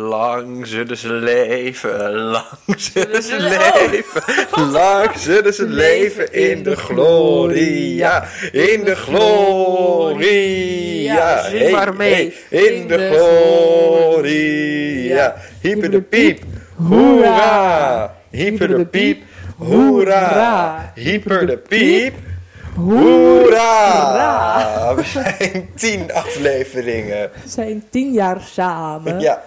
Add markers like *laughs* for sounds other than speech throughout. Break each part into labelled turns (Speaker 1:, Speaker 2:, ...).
Speaker 1: Lang zullen ze leven, lang zullen ze leven, lang zullen ze leven in de gloria, in de gloria.
Speaker 2: Ja, zing maar mee.
Speaker 1: in de gloria. Hyper de piep, hoera. Hyper de piep, hoera. Hyper de piep, hoera. *laughs* We zijn tien afleveringen.
Speaker 2: We zijn tien jaar samen.
Speaker 1: Ja.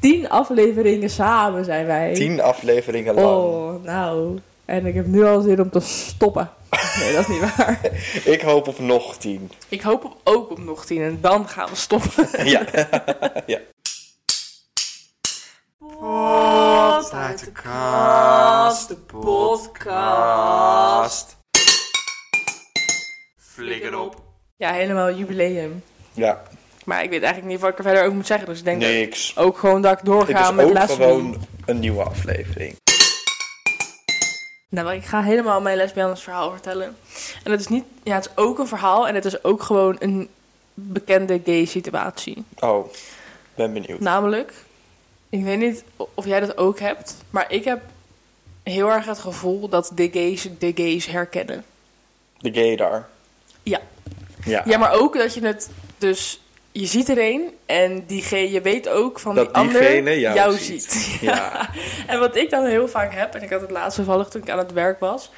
Speaker 2: Tien afleveringen samen zijn wij.
Speaker 1: Tien afleveringen lang.
Speaker 2: Oh, nou. En ik heb nu al zin om te
Speaker 1: *laughs*
Speaker 2: stoppen. Nee, dat is niet waar.
Speaker 1: Ik hoop op nog tien.
Speaker 2: Ik hoop op- ook op nog tien en dan gaan we stoppen.
Speaker 1: Ja. *laughs* ja.
Speaker 2: Pot uit de kast, de podcast.
Speaker 1: Flikker op.
Speaker 2: Ja, helemaal jubileum.
Speaker 1: Ja,
Speaker 2: Maar ik weet eigenlijk niet wat ik er verder over moet zeggen. Dus ik denk
Speaker 1: niks.
Speaker 2: dat ook gewoon dat ik
Speaker 1: Het
Speaker 2: doorga
Speaker 1: is
Speaker 2: met
Speaker 1: ook
Speaker 2: les
Speaker 1: gewoon een nieuwe aflevering.
Speaker 2: Nou, maar ik ga helemaal mijn lesbiennes verhaal vertellen. En het is niet... Ja, het is ook een verhaal en het is ook gewoon een bekende gay situatie.
Speaker 1: Oh, ben benieuwd.
Speaker 2: Namelijk, ik weet niet of jij dat ook hebt, maar ik heb heel erg het gevoel dat de gays de gays herkennen.
Speaker 1: De gaydar.
Speaker 2: Ja.
Speaker 1: Ja.
Speaker 2: Ja, maar ook dat je het dus... Je ziet er een en diegene, je weet ook van
Speaker 1: Dat
Speaker 2: die ander
Speaker 1: diegene jou
Speaker 2: ziet.
Speaker 1: ziet.
Speaker 2: *laughs* Ja. En wat ik dan heel vaak heb, en ik had het laatst toevallig toen ik aan het werk was,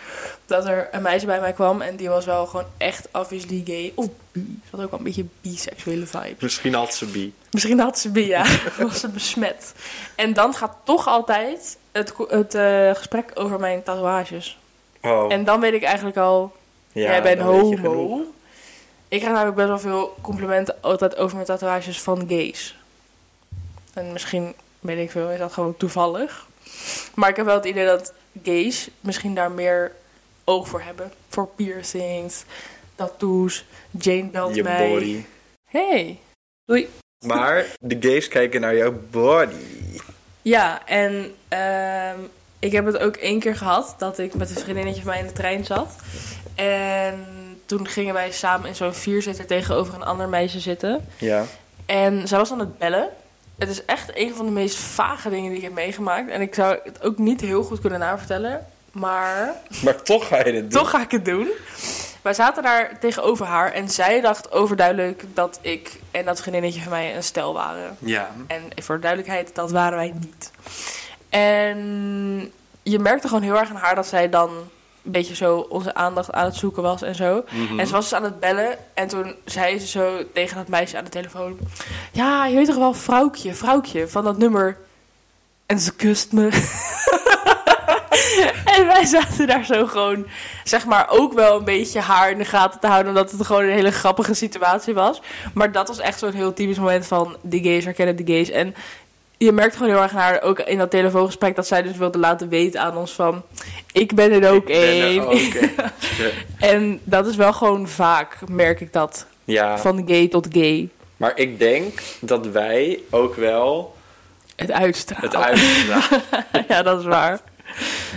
Speaker 2: dat er een meisje bij mij kwam en die was wel gewoon echt obviously gay. Of bi. Ze had ook wel een beetje biseksuele vibe.
Speaker 1: Misschien had ze bi.
Speaker 2: Misschien had ze Bia, *laughs* was ze besmet. En dan gaat toch altijd het, ko- het eh, gesprek over mijn tatoeages.
Speaker 1: Oh,
Speaker 2: En dan weet ik eigenlijk al,
Speaker 1: ja,
Speaker 2: jij bent
Speaker 1: dan weet je genoeg.
Speaker 2: homo. Ik krijg namelijk best wel veel complimenten altijd over mijn tatoeages van gays. En misschien, weet ik veel, is dat gewoon toevallig. Maar ik heb wel het idee dat gays misschien daar meer oog voor hebben. Voor piercings, tattoos, Jane belt
Speaker 1: Je
Speaker 2: mij.
Speaker 1: body.
Speaker 2: Hey, doei.
Speaker 1: Maar de gays kijken naar jouw body.
Speaker 2: Ja, en ehm, ik heb het ook één keer gehad dat ik met een vriendinnetje van mij in de trein zat. En toen gingen wij samen in zo'n vierzitter tegenover een ander meisje zitten.
Speaker 1: Ja.
Speaker 2: En zij was aan het bellen. Het is echt een van de meest vage dingen die ik heb meegemaakt. En ik zou het ook niet heel goed kunnen navertellen. Maar
Speaker 1: Maar toch ga je dit doen.
Speaker 2: toch ga ik het doen. Wij zaten daar tegenover haar. En zij dacht overduidelijk dat ik en dat vriendinnetje van mij een stel waren.
Speaker 1: Ja.
Speaker 2: En voor de duidelijkheid, dat waren wij niet. En je merkte gewoon heel erg aan haar dat zij dan een beetje zo onze aandacht aan het zoeken was en zo. En ze was dus aan het bellen en toen zei ze zo tegen dat meisje aan de telefoon... Ja, je weet toch wel, vrouwtje, vrouwtje, van dat nummer. En ze kust me. *laughs* en wij zaten daar zo gewoon, zeg maar, ook wel een beetje haar in de gaten te houden... omdat het gewoon een hele grappige situatie was. Maar dat was echt zo'n heel typisch moment van de gays herkennen de gays. En je merkt gewoon heel erg naar haar, ook in dat telefoongesprek, dat zij dus wilde laten weten aan ons van... Ik ben er ook
Speaker 1: Ik ben er
Speaker 2: één.
Speaker 1: ook één.
Speaker 2: *laughs* en dat is wel gewoon vaak, merk ik dat.
Speaker 1: Ja.
Speaker 2: Van gay tot gay.
Speaker 1: Maar ik denk dat wij ook wel
Speaker 2: Het uitstralen.
Speaker 1: het
Speaker 2: *laughs*
Speaker 1: uitstralen.
Speaker 2: ja, dat is waar.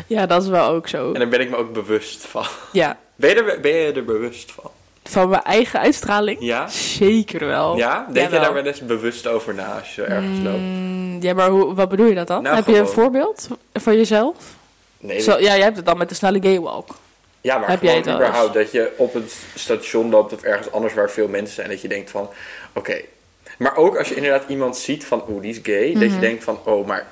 Speaker 2: Ja, dat is wel ook zo.
Speaker 1: En daar ben ik me ook bewust van.
Speaker 2: Ja,
Speaker 1: Ben je er, ben je er bewust van?
Speaker 2: van mijn eigen uitstraling?
Speaker 1: Ja?
Speaker 2: Zeker wel.
Speaker 1: Ja? Denk je
Speaker 2: Oh, Jawel.
Speaker 1: daar wel eens bewust over na als je ergens loopt?
Speaker 2: Mm, Ja, maar hoe, wat bedoel je dat dan?
Speaker 1: Nou,
Speaker 2: Heb je een
Speaker 1: gewoon.
Speaker 2: voorbeeld van jezelf?
Speaker 1: Nee,
Speaker 2: Zo, ja, jij hebt het dan met de snelle gaywalk.
Speaker 1: ja, maar
Speaker 2: heb
Speaker 1: gewoon
Speaker 2: jij het wel eens?
Speaker 1: überhaupt dat je op een station loopt of ergens anders waar veel mensen zijn. Dat je denkt van, oké. Maar ook als je inderdaad iemand ziet van, oeh, die is gay.
Speaker 2: Mhm.
Speaker 1: Dat je denkt van, oh, maar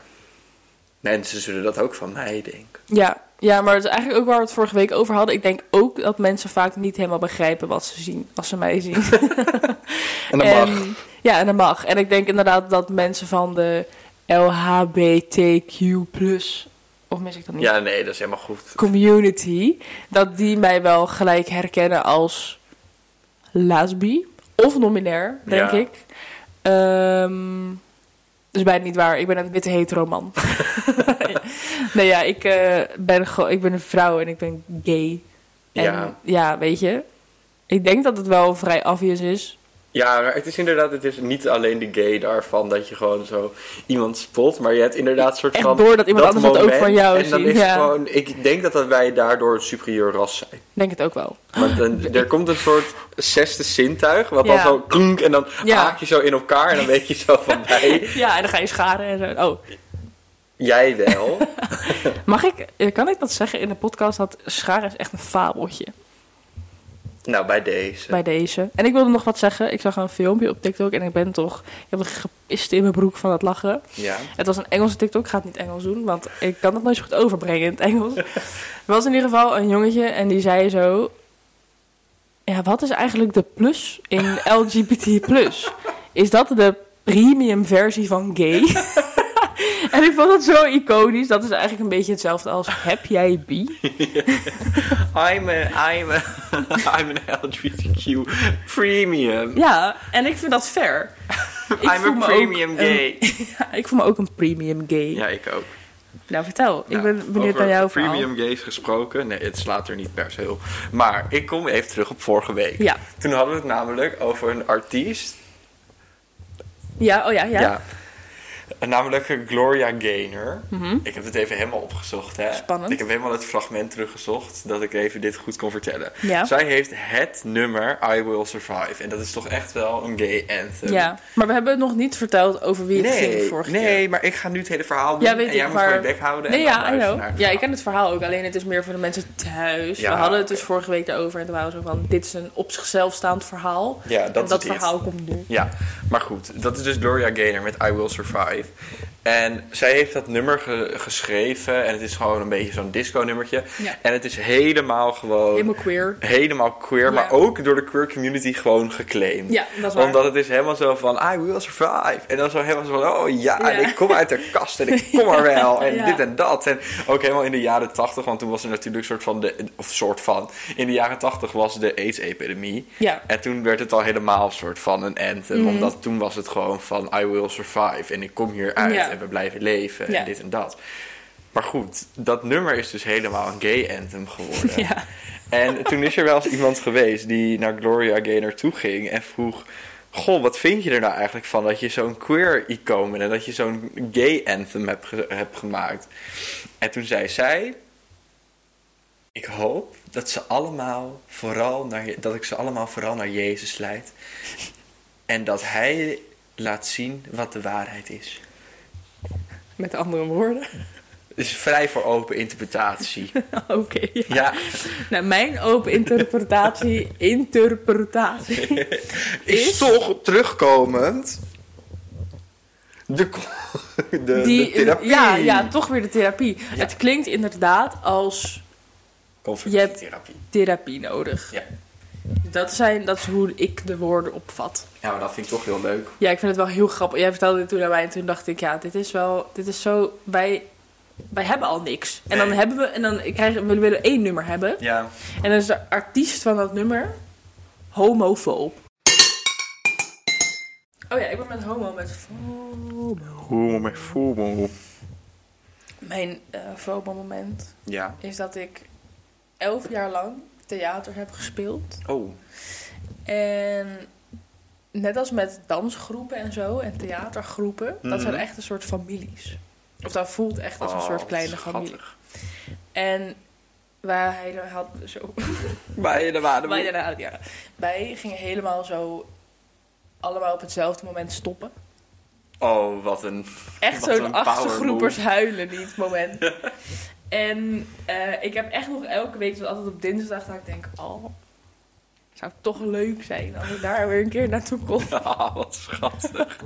Speaker 1: mensen zullen dat ook van mij denken.
Speaker 2: Ja. ja, maar het is eigenlijk ook waar we het vorige week over hadden. Ik denk ook dat mensen vaak niet helemaal begrijpen wat ze zien als ze mij
Speaker 1: *laughs*
Speaker 2: zien.
Speaker 1: En dat mag.
Speaker 2: Ja, en dat mag. En ik denk inderdaad dat mensen van de LHBTQ+, of mis ik dat niet,
Speaker 1: Ja, nee, dat is helemaal goed.
Speaker 2: community, dat die mij wel gelijk herkennen als lesbi of nominair, denk
Speaker 1: Ja.
Speaker 2: ik. Ehm, dus bijna niet waar. Ik ben een witte
Speaker 1: *laughs*
Speaker 2: hetero man. nee, ja, ik, eh, ben, gewoon- ik ben een vrouw en ik ben gay. En ja.
Speaker 1: Ja.
Speaker 2: weet je. Ik denk dat het wel vrij obvious is.
Speaker 1: Ja, maar het is inderdaad, het is niet alleen de gay daarvan dat je gewoon zo iemand spot, maar je hebt inderdaad een soort
Speaker 2: Echt
Speaker 1: van.
Speaker 2: door dat iemand anders dat ook
Speaker 1: moment
Speaker 2: van jou
Speaker 1: En dan
Speaker 2: ziet,
Speaker 1: is
Speaker 2: ja.
Speaker 1: gewoon, ik denk dat, dat wij daardoor een superieur ras zijn.
Speaker 2: Denk het ook
Speaker 1: *laughs*
Speaker 2: wel.
Speaker 1: Want dan, er komt een soort zesde zintuig, wat
Speaker 2: Ah. Ja.
Speaker 1: dan zo klonk en dan
Speaker 2: Ja.
Speaker 1: haak je zo in elkaar en dan weet je zo van
Speaker 2: *laughs*
Speaker 1: bij.
Speaker 2: Ja, en dan ga je scharen en zo. Oh,
Speaker 1: Jij wel.
Speaker 2: mag ik, eh, kan ik dat zeggen in de podcast dat scharen is echt een fabeltje
Speaker 1: nou, bij deze.
Speaker 2: bij deze? En ik wilde nog wat zeggen. Ik zag een filmpje op TikTok en ik ben toch, ik heb gepist in mijn broek van het lachen.
Speaker 1: Ja.
Speaker 2: Het was een Engelse TikTok. Ik ga het niet Engels doen, want ik kan dat nooit zo goed overbrengen in het *laughs* Engels. Er was in ieder geval een jongetje en die zei zo... Ja, wat is eigenlijk de plus in LGBT+. Is dat de premium versie van gay? *laughs* en ik vond dat zo iconisch. Dat is eigenlijk een beetje hetzelfde als heb jij bi?
Speaker 1: I'm, a, I'm, a, *laughs* I'm an LGBTQ premium.
Speaker 2: Ja, en ik vind dat fair. *laughs* Ik
Speaker 1: I'm
Speaker 2: voel
Speaker 1: a
Speaker 2: me ook
Speaker 1: premium
Speaker 2: een-
Speaker 1: gay.
Speaker 2: Ja, *laughs* ik voel me ook een premium gay.
Speaker 1: Ja, ik ook.
Speaker 2: Nou, vertel. Ik
Speaker 1: Nou,
Speaker 2: ben benieuwd
Speaker 1: over
Speaker 2: naar jouw verhaal.
Speaker 1: premium gays gesproken. Nee, het slaat er niet per se heel. Maar ik kom even terug op vorige week.
Speaker 2: Ja.
Speaker 1: Toen hadden we het namelijk over een artiest.
Speaker 2: Ja, oh ja, ja.
Speaker 1: En Namelijk Gloria Gaynor. Ik heb het even helemaal opgezocht. Hè.
Speaker 2: Mhm. Spannend.
Speaker 1: Ik heb helemaal het fragment teruggezocht dat ik even dit goed kon vertellen.
Speaker 2: Ja.
Speaker 1: Zij heeft het nummer I Will Survive. En dat is toch echt wel een gay anthem.
Speaker 2: Ja, maar we hebben het nog niet verteld over wie het ging
Speaker 1: Nee,
Speaker 2: vorige keer.
Speaker 1: nee maar ik ga nu het hele verhaal doen.
Speaker 2: Ja, weet
Speaker 1: en
Speaker 2: ik,
Speaker 1: jij moet
Speaker 2: maar-
Speaker 1: gewoon je bek houden.
Speaker 2: Nee,
Speaker 1: en dan
Speaker 2: ja, I
Speaker 1: luisteren
Speaker 2: know.
Speaker 1: naar het
Speaker 2: Ja, ik
Speaker 1: verhaal.
Speaker 2: ken het verhaal ook. Alleen het is meer voor de mensen thuis.
Speaker 1: Ja,
Speaker 2: we hadden het
Speaker 1: oké.
Speaker 2: dus vorige week erover. En toen waren we zo van, dit is een op zichzelf staand verhaal.
Speaker 1: Ja, dat
Speaker 2: en
Speaker 1: is
Speaker 2: dat
Speaker 1: dit.
Speaker 2: verhaal komt nu.
Speaker 1: Ja, maar goed, dat is dus Gloria Gaynor met I Will Survive. En zij heeft dat nummer ge- geschreven en het is gewoon een beetje zo'n disco-nummertje.
Speaker 2: Ja.
Speaker 1: En het is helemaal gewoon, helemaal,
Speaker 2: Helemaal queer.
Speaker 1: queer, maar ook door de queer community gewoon geclaimd.
Speaker 2: Ja, dat is waar.
Speaker 1: Omdat het is helemaal zo van, I will survive. En dan zo helemaal zo van, oh ja,
Speaker 2: Ja.
Speaker 1: en ik kom uit de kast en
Speaker 2: *laughs*
Speaker 1: ik kom er wel. En
Speaker 2: Ja.
Speaker 1: dit en dat. En ook helemaal in de jaren tachtig, want toen was er natuurlijk soort van, de, of soort van, in de jaren tachtig was de AIDS-epidemie.
Speaker 2: Ja. Mhm.
Speaker 1: En toen werd het al helemaal een soort van een anthem. Omdat toen was het gewoon van I will survive. En ik kom hier uit
Speaker 2: Ja.
Speaker 1: en we blijven leven.
Speaker 2: Ja.
Speaker 1: En dit en dat. Maar goed, dat nummer is dus helemaal een gay anthem geworden.
Speaker 2: Ja.
Speaker 1: En toen is er wel eens iemand geweest die naar Gloria Gaynor toe ging en vroeg... Goh, wat vind je er nou eigenlijk van dat je zo'n queer-icoon bent... en dat je zo'n gay-anthem hebt, ge- hebt gemaakt? En toen zei zij... Ik hoop dat, ze allemaal vooral naar, Je- dat ik ze allemaal vooral naar Jezus leid. En dat hij laat zien wat de waarheid is.
Speaker 2: Met andere woorden. *laughs*
Speaker 1: Het is vrij voor open interpretatie.
Speaker 2: Oké. ja.
Speaker 1: Ja,
Speaker 2: Nou, mijn open interpretatie,
Speaker 1: *laughs*
Speaker 2: interpretatie,
Speaker 1: is
Speaker 2: Is-
Speaker 1: toch terugkomend de, ko- *laughs* de, de
Speaker 2: die,
Speaker 1: therapie.
Speaker 2: ja, ja, toch weer de therapie. Het klinkt inderdaad als
Speaker 1: Conflicttherapie.
Speaker 2: therapie nodig.
Speaker 1: Ja.
Speaker 2: Dat, zijn, dat is hoe ik de woorden opvat.
Speaker 1: ja, maar dat vind ik toch heel leuk.
Speaker 2: Ja, ik vind het wel heel grappig. Jij vertelde dit toen aan mij en toen dacht ik, ja, dit is wel, dit is zo, wij, wij hebben al niks. En dan
Speaker 1: Nee.
Speaker 2: hebben we, en dan krijgen we, willen één nummer hebben.
Speaker 1: Ja,
Speaker 2: En dan is de artiest van dat nummer homofoob. Oh ja, ik ben met homo, met fomo.
Speaker 1: hoe me voel me.
Speaker 2: Mijn eh fomo moment
Speaker 1: Ja.
Speaker 2: is dat ik elf jaar lang theater heb gespeeld.
Speaker 1: Oh,
Speaker 2: En net als met dansgroepen en zo en theatergroepen, dat zijn
Speaker 1: Mhm.
Speaker 2: echt een soort families. Of dat voelt echt als een
Speaker 1: Oh,
Speaker 2: soort
Speaker 1: wat
Speaker 2: kleine familie.
Speaker 1: schattig.
Speaker 2: En wij had zo.
Speaker 1: Bij de waarde.
Speaker 2: *laughs* Wij, daarna- ja. wij gingen helemaal zo allemaal op hetzelfde moment stoppen.
Speaker 1: Oh, wat een. *laughs*
Speaker 2: Echt
Speaker 1: Wat
Speaker 2: zo'n
Speaker 1: een power
Speaker 2: achtergroepers huilen niet
Speaker 1: *laughs*
Speaker 2: moment. en eh, ik heb echt nog elke week, dus altijd op dinsdag, dat ik denk, oh, zou toch leuk zijn als ik daar weer een keer naartoe kon.
Speaker 1: Ah, wat schattig.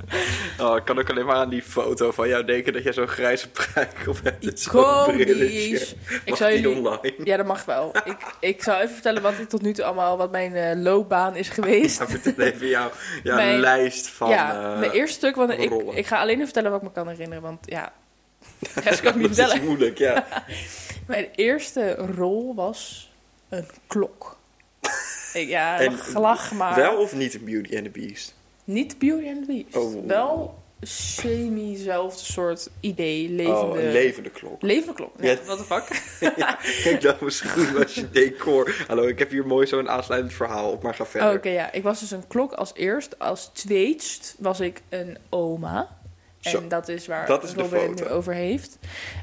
Speaker 1: Oh, ik kan ook alleen maar aan die foto van jou denken dat jij zo'n grijze pruik op *laughs* hebt. en zo'n brilletje.
Speaker 2: Iconisch. Ik
Speaker 1: Mag
Speaker 2: zou
Speaker 1: die
Speaker 2: jullie...
Speaker 1: online?
Speaker 2: Ja, dat mag wel. ik, ik zou even vertellen wat ik tot nu toe allemaal, wat mijn eh, loopbaan is geweest.
Speaker 1: Ja, vertel even jou, jouw
Speaker 2: Mijn-
Speaker 1: lijst *laughs* van...
Speaker 2: ja,
Speaker 1: eh,
Speaker 2: mijn eerste stuk, want ik,
Speaker 1: rollen.
Speaker 2: ik ga alleen even vertellen wat ik me kan herinneren, want
Speaker 1: *laughs*
Speaker 2: ja, de rest kan ik niet
Speaker 1: dat is
Speaker 2: vertellen.
Speaker 1: moeilijk, ja.
Speaker 2: Mijn eerste rol was een
Speaker 1: *laughs*
Speaker 2: klok. Ik- ja,
Speaker 1: En
Speaker 2: lach maar.
Speaker 1: Wel of niet in Beauty and the Beast?
Speaker 2: Niet Beauty and the Beast.
Speaker 1: Oh.
Speaker 2: Wel semi-zelfde soort idee, levende...
Speaker 1: Oh, een levende
Speaker 2: *laughs*
Speaker 1: klok.
Speaker 2: levende klok. Ja,
Speaker 1: Ja.
Speaker 2: what the fuck.
Speaker 1: Kijk, dat was goed als je decor. Hallo, ik heb hier mooi zo'n aansluitend verhaal op, maar ga
Speaker 2: Oh,
Speaker 1: verder.
Speaker 2: Oké, ja. Ik was dus een klok als eerst. Als tweedst was ik een oma. En
Speaker 1: Zo,
Speaker 2: dat is waar
Speaker 1: dat is de
Speaker 2: Robin het
Speaker 1: foto.
Speaker 2: nu over heeft.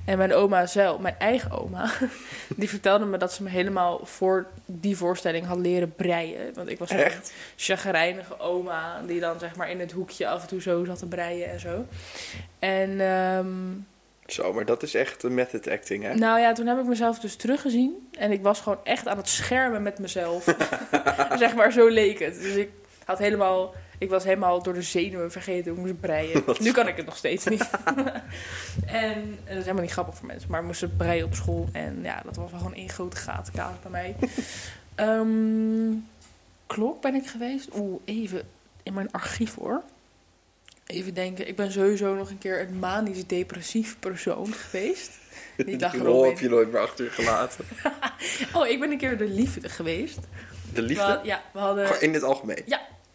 Speaker 2: En mijn oma zelf, mijn eigen oma, *laughs* die vertelde me dat ze me helemaal voor die voorstelling had leren breien. Want ik was zo'n
Speaker 1: Echt?
Speaker 2: chagrijnige oma die dan zeg maar in het hoekje af en toe zo zat te breien en zo. En ehm,
Speaker 1: Zo, maar dat is echt een method acting, hè?
Speaker 2: nou ja, toen heb ik mezelf dus teruggezien. En ik was gewoon echt aan het schermen met mezelf. zeg maar, zo leek het. Dus ik had helemaal... Ik was helemaal door de zenuwen vergeten hoe ik moest breien. Nu kan ik het nog steeds niet. *laughs* en, en dat is helemaal niet grappig voor mensen. Maar ik moest het breien op school. En ja, dat was wel gewoon één grote gatenkaas bij mij. Ehm, klok ben ik geweest. Oeh, even in mijn archief hoor. Even denken. Ik ben sowieso nog een keer een manisch depressief persoon geweest. Niet lachen,
Speaker 1: *laughs* Die rol
Speaker 2: Robin.
Speaker 1: heb je nooit meer achtergelaten.
Speaker 2: Oh, ik ben een keer de liefde geweest.
Speaker 1: De
Speaker 2: We
Speaker 1: liefde?
Speaker 2: had- ja, we hadden...
Speaker 1: Gewoon In het algemeen.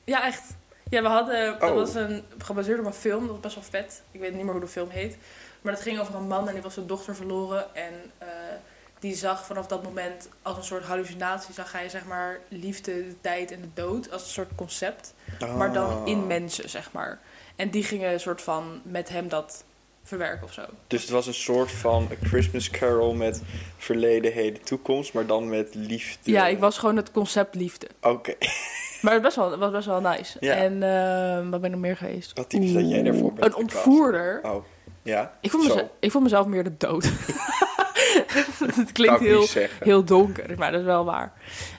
Speaker 2: Ja, echt. Ja, we hadden... Dat
Speaker 1: Oh.
Speaker 2: was een, gebaseerd op een film. Dat was best wel vet. Ik weet niet meer hoe de film heet. Maar dat ging over een man en die was zijn dochter verloren. En eh, die zag vanaf dat moment als een soort hallucinatie... zag hij zeg maar liefde, de tijd en de dood als een soort concept. Maar dan in
Speaker 1: Ah.
Speaker 2: mensen, zeg maar. En die gingen een soort van met hem dat verwerken of zo.
Speaker 1: Dus het was een soort van A Christmas Carol met verleden, heden, toekomst, maar dan met liefde.
Speaker 2: Ja, ik was gewoon het concept liefde.
Speaker 1: Oké,
Speaker 2: Maar het was best wel, het was best wel nice.
Speaker 1: Ja.
Speaker 2: En ehm, wat ben ik nog meer geweest?
Speaker 1: wat typisch dat jij daarvoor bent
Speaker 2: Een
Speaker 1: gecast.
Speaker 2: ontvoerder.
Speaker 1: Oh, ja?
Speaker 2: Ik vond,
Speaker 1: Zo,
Speaker 2: mezelf, ik vond mezelf meer de dood. *laughs* Het
Speaker 1: zou
Speaker 2: klinkt
Speaker 1: ik niet
Speaker 2: heel,
Speaker 1: zeggen.
Speaker 2: heel donker, maar dat is wel waar.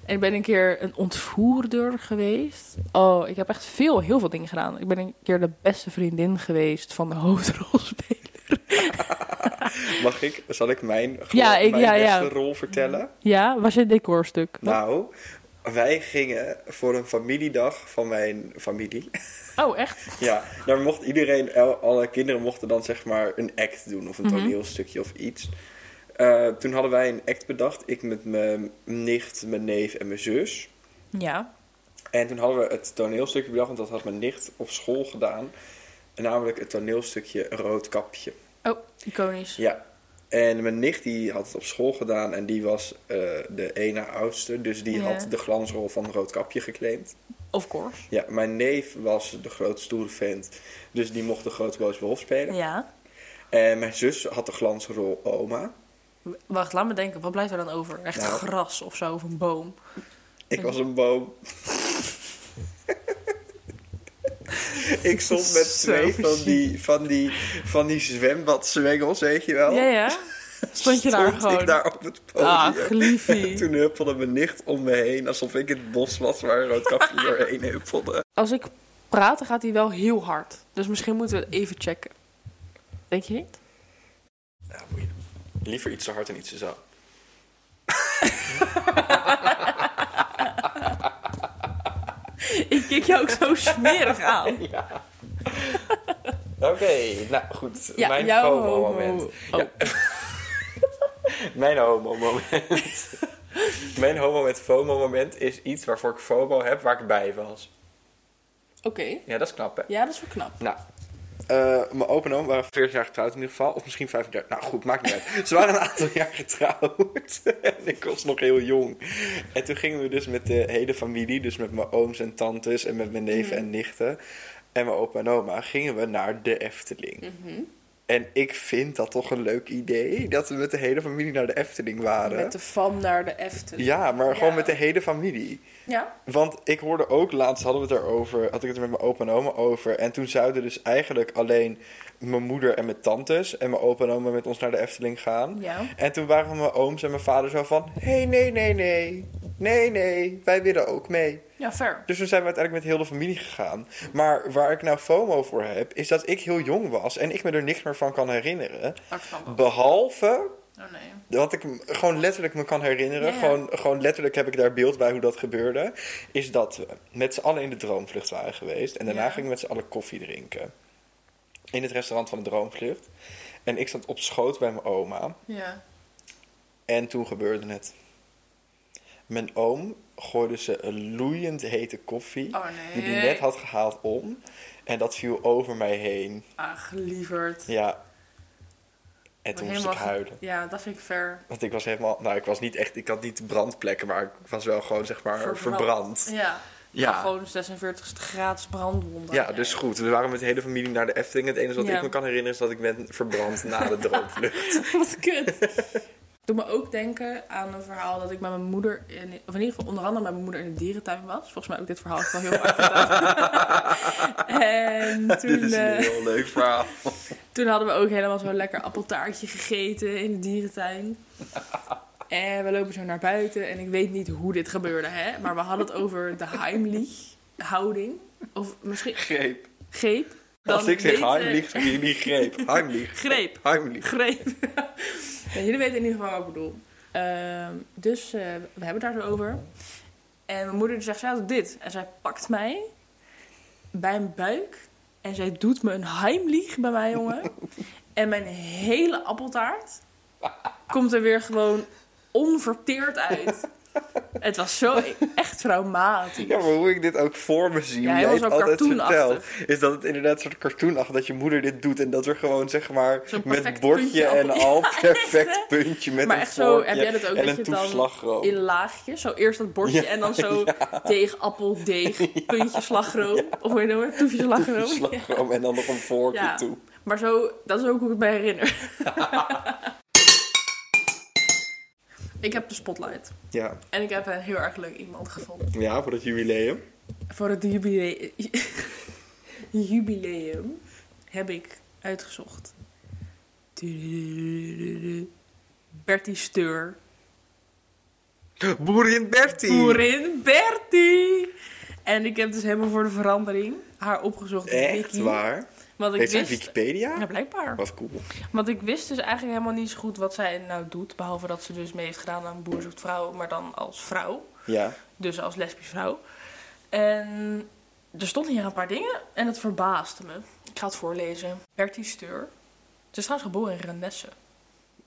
Speaker 2: En ik ben een keer een ontvoerder geweest. Oh, ik heb echt veel, heel veel dingen gedaan. Ik ben een keer de beste vriendin geweest van de *laughs* hoofdrolspeler.
Speaker 1: Mag ik, zal ik mijn,
Speaker 2: Ja, ik-
Speaker 1: mijn
Speaker 2: ja, ja.
Speaker 1: beste rol vertellen?
Speaker 2: Ja, was je decorstuk?
Speaker 1: Nou, wij gingen voor een familiedag van mijn familie. *laughs*
Speaker 2: Oh, echt?
Speaker 1: Ja, daar mocht iedereen, el- alle kinderen mochten dan zeg maar een act doen of een toneelstukje of iets. Eh, toen hadden wij een act bedacht, ik met mijn nicht, mijn neef en mijn zus.
Speaker 2: Ja.
Speaker 1: En toen hadden we het toneelstukje bedacht, want dat had mijn nicht op school gedaan. En namelijk het toneelstukje Roodkapje.
Speaker 2: Oh, iconisch.
Speaker 1: Ja. En mijn nicht die had het op school gedaan en die was eh, de ene oudste. Dus die
Speaker 2: Ja.
Speaker 1: had de glansrol van Roodkapje geclaimd.
Speaker 2: Of course.
Speaker 1: Ja, mijn neef was de grote stoere vent. Dus die mocht de grote boze wolf spelen.
Speaker 2: Ja.
Speaker 1: En mijn zus had de glansrol oma.
Speaker 2: Wacht, laat me denken. Wat blijft er dan over? Echt
Speaker 1: Nou.
Speaker 2: gras of zo, of een boom?
Speaker 1: Ik
Speaker 2: Mhm.
Speaker 1: was een boom. ik stond met
Speaker 2: Zo
Speaker 1: twee van die, van die, van die zwembadswengels, weet je wel.
Speaker 2: Ja,
Speaker 1: *laughs*
Speaker 2: ja. Stond je daar gewoon? Ah,
Speaker 1: ik daar Oh, op het
Speaker 2: Ach,
Speaker 1: podium.
Speaker 2: liefie.
Speaker 1: En *laughs* toen huppelde mijn nicht om me heen, alsof ik het bos was waar een roodkapje
Speaker 2: *laughs*
Speaker 1: doorheen huppelde.
Speaker 2: Als ik praat, dan gaat hij wel heel hard. Dus misschien moeten we het even checken. Denk je niet?
Speaker 1: Nou, boeien. Liever iets te hard en iets te zacht.
Speaker 2: *laughs* Ik kijk jou ook zo smerig
Speaker 1: *laughs*
Speaker 2: aan.
Speaker 1: Oké, nou goed.
Speaker 2: Ja, Oh,
Speaker 1: mijn
Speaker 2: jouw
Speaker 1: homo-moment.
Speaker 2: homo.
Speaker 1: Ja. mijn homo-moment. *laughs* mijn homo met FOMO-moment is iets waarvoor ik FOMO heb, waar ik bij was.
Speaker 2: Oké.
Speaker 1: Ja, dat is knap, hè?
Speaker 2: Ja, dat is wel knap.
Speaker 1: Nou. eh, mijn opa en oom waren 40 jaar getrouwd in ieder geval. Of misschien 35. Nou goed, maakt niet uit. Ze waren een aantal jaar getrouwd. *laughs* en ik was nog heel jong. En toen gingen we dus met de hele familie. Dus met mijn ooms en tantes en met mijn neven en nichten. En mijn opa en oma gingen we naar de Efteling. En ik vind dat toch een leuk idee. Dat we met de hele familie naar de Efteling waren.
Speaker 2: Met de van naar de Efteling.
Speaker 1: Ja, maar gewoon
Speaker 2: Ja.
Speaker 1: met de hele familie.
Speaker 2: Ja?
Speaker 1: Want ik hoorde ook laatst, hadden we het erover, had ik het er met mijn opa en oma over. En toen zouden dus eigenlijk alleen mijn moeder en mijn tantes en mijn opa en oma met ons naar de Efteling gaan.
Speaker 2: Ja.
Speaker 1: En toen waren mijn ooms en mijn vader zo van, hé hey, nee, nee, nee, nee, nee, wij willen ook mee.
Speaker 2: Ja, fair.
Speaker 1: Dus toen zijn we uiteindelijk met heel de familie gegaan. Maar waar ik nou FOMO voor heb, is dat ik heel jong was en ik me er niks meer van kan herinneren.
Speaker 2: Dat snap
Speaker 1: Oh.
Speaker 2: ik.
Speaker 1: Behalve
Speaker 2: Oh nee.
Speaker 1: wat ik m- gewoon letterlijk me kan herinneren,
Speaker 2: Ja, ja.
Speaker 1: gewoon, gewoon letterlijk heb ik daar beeld bij hoe dat gebeurde, is dat we met z'n allen in de droomvlucht waren geweest. En daarna
Speaker 2: Ja.
Speaker 1: gingen we met z'n allen koffie drinken. In het restaurant van de droomvlucht. En ik zat op schoot bij mijn oma.
Speaker 2: Ja.
Speaker 1: En toen gebeurde het. Mijn oom gooide ze een loeiend hete koffie.
Speaker 2: Oh, nee.
Speaker 1: Die die net had gehaald om. En dat viel over mij heen.
Speaker 2: Ach, lieverd.
Speaker 1: Ja. En toen moest ik
Speaker 2: Helemaal ge-
Speaker 1: huilen.
Speaker 2: Ja, dat vind ik ver.
Speaker 1: Want ik was helemaal... Nou, ik was niet echt... Ik had niet brandplekken, maar ik was wel gewoon, zeg maar, verbrand.
Speaker 2: Ja.
Speaker 1: Ja.
Speaker 2: Gewoon 46 graden brandwonden.
Speaker 1: Ja, dus goed. We waren met de hele familie naar de Efteling. Het enige wat
Speaker 2: Ja.
Speaker 1: ik me kan herinneren is dat ik ben verbrand na de
Speaker 2: *laughs*
Speaker 1: droomvlucht.
Speaker 2: Wat kut. Doe me ook denken aan een verhaal dat ik met mijn moeder, in, of in ieder geval onder andere met mijn moeder in de dierentuin was. Volgens mij ook dit verhaal is wel heel erg
Speaker 1: *laughs*
Speaker 2: verteld. en toen,
Speaker 1: Dit is een
Speaker 2: eh,
Speaker 1: heel leuk verhaal.
Speaker 2: toen hadden we ook helemaal zo'n lekker appeltaartje gegeten in de
Speaker 1: *laughs*
Speaker 2: dierentuin. En we lopen zo naar buiten en ik weet niet hoe dit gebeurde, hè? maar we hadden het over de Heimlich-houding. Of misschien
Speaker 1: Greep.
Speaker 2: greep.
Speaker 1: Als ik zeg
Speaker 2: weet, eh,
Speaker 1: Heimlich, zeg jullie greep.
Speaker 2: *laughs*
Speaker 1: Heimlich.
Speaker 2: Greep.
Speaker 1: Heimlich.
Speaker 2: greep. *laughs* Ja, jullie weten in ieder geval wat ik bedoel. Ehm, dus eh, we hebben het daar zo over. En mijn moeder die zegt, zij had dit. En zij pakt mij bij mijn buik. En zij doet me een heimlich bij mij, jongen. en mijn hele appeltaart komt er weer gewoon onverteerd uit. Het was zo e-, echt traumatisch.
Speaker 1: Ja, maar hoe ik dit ook voor me zie,
Speaker 2: Ja,
Speaker 1: hoe jij het
Speaker 2: helemaal zo
Speaker 1: altijd vertelt,
Speaker 2: cartoonachtig.
Speaker 1: is dat het inderdaad een soort cartoonachtig dat je moeder dit doet en dat er gewoon zeg maar
Speaker 2: Zo'n
Speaker 1: met
Speaker 2: perfect
Speaker 1: bordje
Speaker 2: puntje
Speaker 1: en
Speaker 2: appel- *laughs*
Speaker 1: al
Speaker 2: Ja, echt,
Speaker 1: perfect
Speaker 2: hè?
Speaker 1: puntje met
Speaker 2: maar
Speaker 1: een
Speaker 2: echt zo,
Speaker 1: vorkje
Speaker 2: heb jij dat ook?
Speaker 1: en
Speaker 2: dat
Speaker 1: een
Speaker 2: je het dan
Speaker 1: toeslagroom.
Speaker 2: in laagjes, zo eerst dat bordje
Speaker 1: *laughs* Ja,
Speaker 2: en dan zo deeg, appel, deeg, puntje, slagroom. Of hoe je het noemt, toefje, slagroom. Ja.
Speaker 1: Slagroom en dan nog een vorkje
Speaker 2: Ja.
Speaker 1: toe.
Speaker 2: Maar zo, dat is ook hoe ik het me
Speaker 1: *laughs*
Speaker 2: herinner. ik heb de spotlight.
Speaker 1: Ja.
Speaker 2: En ik heb een heel erg leuk iemand gevonden.
Speaker 1: ja, voor dat jubileum.
Speaker 2: Voor het jubileum, *laughs* jubileum heb ik uitgezocht. Bertie Steur.
Speaker 1: Boerin Bertie!
Speaker 2: Boerin Bertie. En ik heb dus helemaal voor de verandering haar opgezocht. op
Speaker 1: Echt
Speaker 2: Wiki.
Speaker 1: waar?
Speaker 2: Want ik
Speaker 1: Heeft hij
Speaker 2: wist...
Speaker 1: Wikipedia?
Speaker 2: Ja, blijkbaar.
Speaker 1: Wat cool.
Speaker 2: Want ik wist dus eigenlijk helemaal niet zo goed wat zij nou doet. Behalve dat ze dus mee heeft gedaan aan Boer zoekt vrouw, maar dan als vrouw.
Speaker 1: Ja.
Speaker 2: Dus als lesbisch vrouw. En er stonden hier een paar dingen en het verbaasde me. Ik ga het voorlezen. Bertie Steur. Ze is trouwens geboren in Renesse.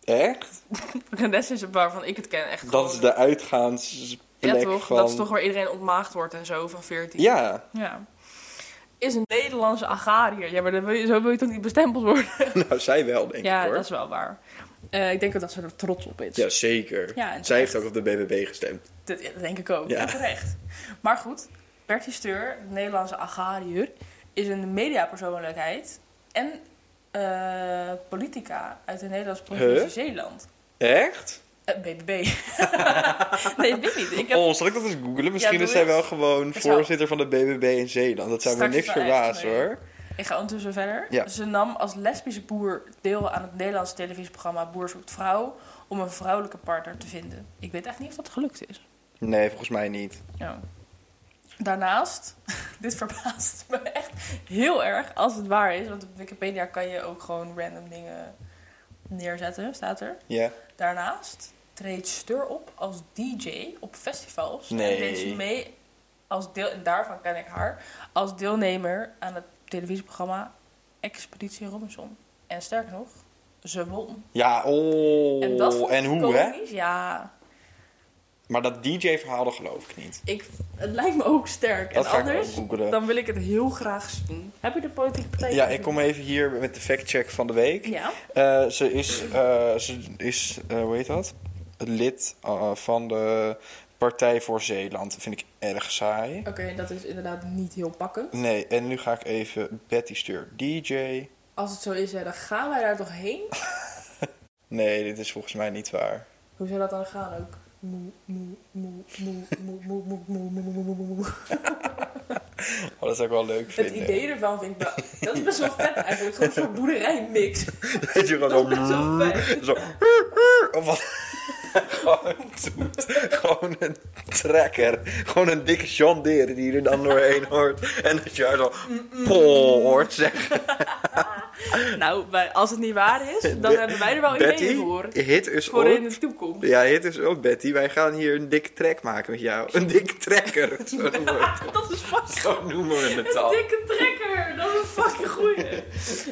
Speaker 1: Echt?
Speaker 2: Renesse is het waarvan ik het ken. Echt gewoon-
Speaker 1: Dat is de uitgaansplek
Speaker 2: ja, toch?
Speaker 1: van...
Speaker 2: Dat is toch waar iedereen ontmaagd wordt en zo van 14.
Speaker 1: Ja.
Speaker 2: Ja. Is een Nederlandse agrariër. Ja, maar dan wil je, zo wil je toch niet bestempeld worden?
Speaker 1: Nou, zij wel, *laughs* denk
Speaker 2: ja,
Speaker 1: ik hoor.
Speaker 2: dat is wel waar. Eh, ik denk ook dat ze er trots op is.
Speaker 1: Ja, zeker.
Speaker 2: Ja, en
Speaker 1: zij heeft
Speaker 2: terecht.
Speaker 1: ook op de BBB gestemd.
Speaker 2: Dat, ja, dat denk ik ook.
Speaker 1: Ja.
Speaker 2: En Terecht. Maar goed, Bertie Steur, de Nederlandse agrariër, is een mediapersoonlijkheid en eh, politica uit de Nederlandse provincie
Speaker 1: Huh?
Speaker 2: Zeeland.
Speaker 1: Echt?
Speaker 2: Eh, BBB. *laughs* nee, weet ik niet. Ik heb
Speaker 1: Oh, zal ik dat eens googlen? Misschien
Speaker 2: doe
Speaker 1: is zij
Speaker 2: eens.
Speaker 1: wel gewoon
Speaker 2: zou-
Speaker 1: voorzitter van de BBB in Zeeland. Dat zou me
Speaker 2: Straks
Speaker 1: niks
Speaker 2: wel echt,
Speaker 1: verbazen,
Speaker 2: nee.
Speaker 1: hoor.
Speaker 2: Ik ga ondertussen verder.
Speaker 1: Ja.
Speaker 2: Ze nam als lesbische boer deel aan het Nederlandse televisieprogramma Boer zoekt vrouw om een vrouwelijke partner te vinden. Ik weet echt niet of dat gelukt is.
Speaker 1: Nee, volgens mij niet.
Speaker 2: Ja. Daarnaast, *laughs* dit verbaast me echt heel erg als het waar is, want op Wikipedia kan je ook gewoon random dingen neerzetten, staat er.
Speaker 1: Ja.
Speaker 2: Daarnaast treedt Steur op als DJ op festivals.
Speaker 1: Nee.
Speaker 2: En deed ze mee als deel, en daarvan ken ik haar, als deelnemer aan het televisieprogramma Expeditie Robinson. En sterker nog, ze won.
Speaker 1: Ja, oh.
Speaker 2: En dat vond ik
Speaker 1: en hoe, hè?
Speaker 2: komisch. Ja,
Speaker 1: Maar dat DJ-verhaal, dat geloof ik niet.
Speaker 2: ik, het lijkt me ook sterk.
Speaker 1: Dat
Speaker 2: en
Speaker 1: ga ik
Speaker 2: anders,
Speaker 1: ook googelen.
Speaker 2: dan wil ik het heel graag zien. Heb je de politieke partij?
Speaker 1: Ja, ik kom even hier met de fact-check van de week.
Speaker 2: Ja,
Speaker 1: Eh, ze is, eh, ze is eh, hoe heet dat? Lid eh, van de Partij voor Zeeland. Dat vind ik erg saai.
Speaker 2: oké, dat is inderdaad niet heel pakkend.
Speaker 1: Nee, en nu ga ik even Betty Steur DJ.
Speaker 2: Als het zo is, hè, dan gaan wij daar toch heen?
Speaker 1: Nee, dit is volgens mij niet waar.
Speaker 2: Hoe zou dat dan gaan ook? Moe, moe, moe, moe, moe, moe, moe, moe, moe, moe, moe, moe, moe.
Speaker 1: Oh, dat zou ik wel leuk
Speaker 2: Het
Speaker 1: vinden.
Speaker 2: idee ervan vind eh, ik wel... Dat is best wel vet eigenlijk. Gewoon zo'n boerderijmix.
Speaker 1: Dat je
Speaker 2: Dat is
Speaker 1: gewoon
Speaker 2: best
Speaker 1: zo...
Speaker 2: wel vet.
Speaker 1: zo of wat? gewoon, doet. gewoon een trekker. Gewoon een dikke John Deere die er dan doorheen hoort. En dat je haar zo... Pol hoort zeggen.
Speaker 2: *laughs* Nou, wij- als het niet waar is, *laughs* dan
Speaker 1: Be-
Speaker 2: hebben wij er wel
Speaker 1: Betty,
Speaker 2: ideeën voor.
Speaker 1: hit is
Speaker 2: Voor
Speaker 1: op.
Speaker 2: in de toekomst.
Speaker 1: Ja, het is ook Betty. Wij gaan hier een dikke trek maken met jou. Een dikke
Speaker 2: *laughs*
Speaker 1: trekker. Zo noemen we,
Speaker 2: *laughs* Dat is vast
Speaker 1: zo noemen we het
Speaker 2: Een
Speaker 1: al.
Speaker 2: dikke trekker, dat is een fucking goeie. *laughs*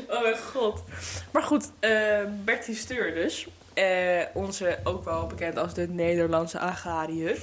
Speaker 2: Oh mijn god. Maar goed, eh Bertie Steur dus. Eh, onze ook wel bekend als de Nederlandse agrariër.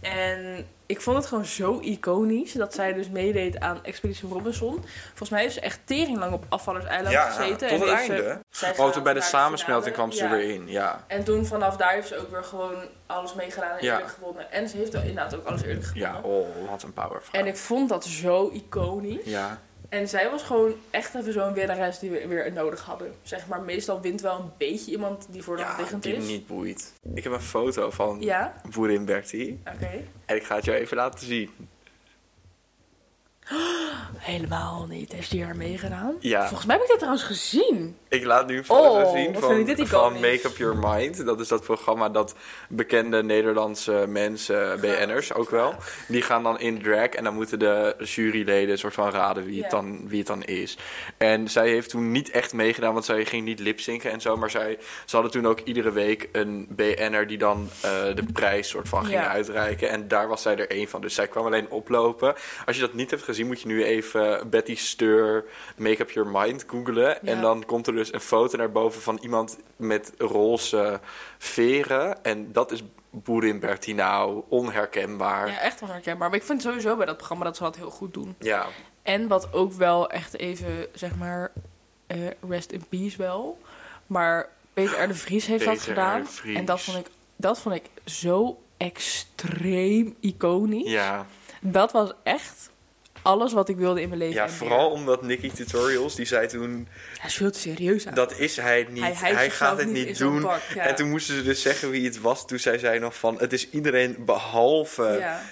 Speaker 2: En ik vond het gewoon zo iconisch dat zij dus meedeed aan Expedition Robinson. Volgens mij heeft ze echt tering lang op Afvallers Eiland
Speaker 1: Ja,
Speaker 2: gezeten.
Speaker 1: tot
Speaker 2: en
Speaker 1: het
Speaker 2: heeft ze-
Speaker 1: einde.
Speaker 2: zij
Speaker 1: Oh,
Speaker 2: gaat
Speaker 1: toen bij de
Speaker 2: naar
Speaker 1: samensmelting
Speaker 2: finale.
Speaker 1: kwam ze
Speaker 2: Ja.
Speaker 1: er weer in, ja.
Speaker 2: En toen vanaf daar heeft ze ook weer gewoon alles meegedaan en
Speaker 1: Ja.
Speaker 2: eerlijk gewonnen. En ze heeft wel inderdaad ook alles eerlijk gewonnen.
Speaker 1: Ja, oh, wat een powervrouw.
Speaker 2: En ik vond dat zo iconisch.
Speaker 1: Ja,
Speaker 2: En zij was gewoon echt even zo'n winnares die we weer nodig hadden. Zeg maar, meestal wint wel een beetje iemand die voor de hand
Speaker 1: ja
Speaker 2: liggend
Speaker 1: die me
Speaker 2: is.
Speaker 1: niet boeit. Ik heb een foto van
Speaker 2: Ja,
Speaker 1: boerin Bertie.
Speaker 2: oké.
Speaker 1: En ik ga het jou even laten zien.
Speaker 2: Helemaal niet. Heeft die haar meegedaan?
Speaker 1: Ja.
Speaker 2: Volgens mij heb ik dat trouwens gezien.
Speaker 1: Ik laat nu een foto
Speaker 2: Oh,
Speaker 1: zien
Speaker 2: wat
Speaker 1: van,
Speaker 2: vind ik dit
Speaker 1: van
Speaker 2: iconisch.
Speaker 1: Make Up Your Mind. Dat is dat programma dat bekende Nederlandse mensen, BN'ers ook wel, die gaan dan in drag en dan moeten de juryleden een soort van raden wie, het
Speaker 2: Ja.
Speaker 1: dan, wie het dan is. En zij heeft toen niet echt meegedaan, want zij ging niet lipzinken en zo, maar zij, ze hadden toen ook iedere week een BN'er die dan eh, de prijs soort van ging
Speaker 2: Ja.
Speaker 1: uitreiken. En daar was zij er één van, dus zij kwam alleen oplopen. Als je dat niet hebt gezien, moet je nu even Betty Steur Make Up Your Mind googlen
Speaker 2: Ja.
Speaker 1: en dan komt er dus een foto naar boven van iemand met roze veren. En dat is Boerin Bertinau, onherkenbaar.
Speaker 2: Ja,
Speaker 1: Ja.
Speaker 2: echt onherkenbaar. Maar ik vind sowieso bij dat programma dat ze dat heel goed doen. En wat ook wel echt even, zeg maar, eh, rest in peace wel. Maar Peter R. de Vries heeft dat
Speaker 1: Peter R.
Speaker 2: gedaan.
Speaker 1: de Vries.
Speaker 2: En dat vond, ik, dat vond ik zo extreem iconisch.
Speaker 1: Ja,
Speaker 2: Dat was echt alles wat ik wilde in mijn leven.
Speaker 1: ja
Speaker 2: en meer.
Speaker 1: vooral omdat Nicky Tutorials, die zei toen,
Speaker 2: Hij is veel te serieus aan.
Speaker 1: dat is hij niet,
Speaker 2: Hij
Speaker 1: hij,
Speaker 2: hijst zichzelf
Speaker 1: gaat het
Speaker 2: niet in
Speaker 1: niet
Speaker 2: zo'n
Speaker 1: doen.
Speaker 2: pak, ja.
Speaker 1: En toen moesten ze dus zeggen wie het was. Toen zei zij nog van, het is iedereen behalve
Speaker 2: ja.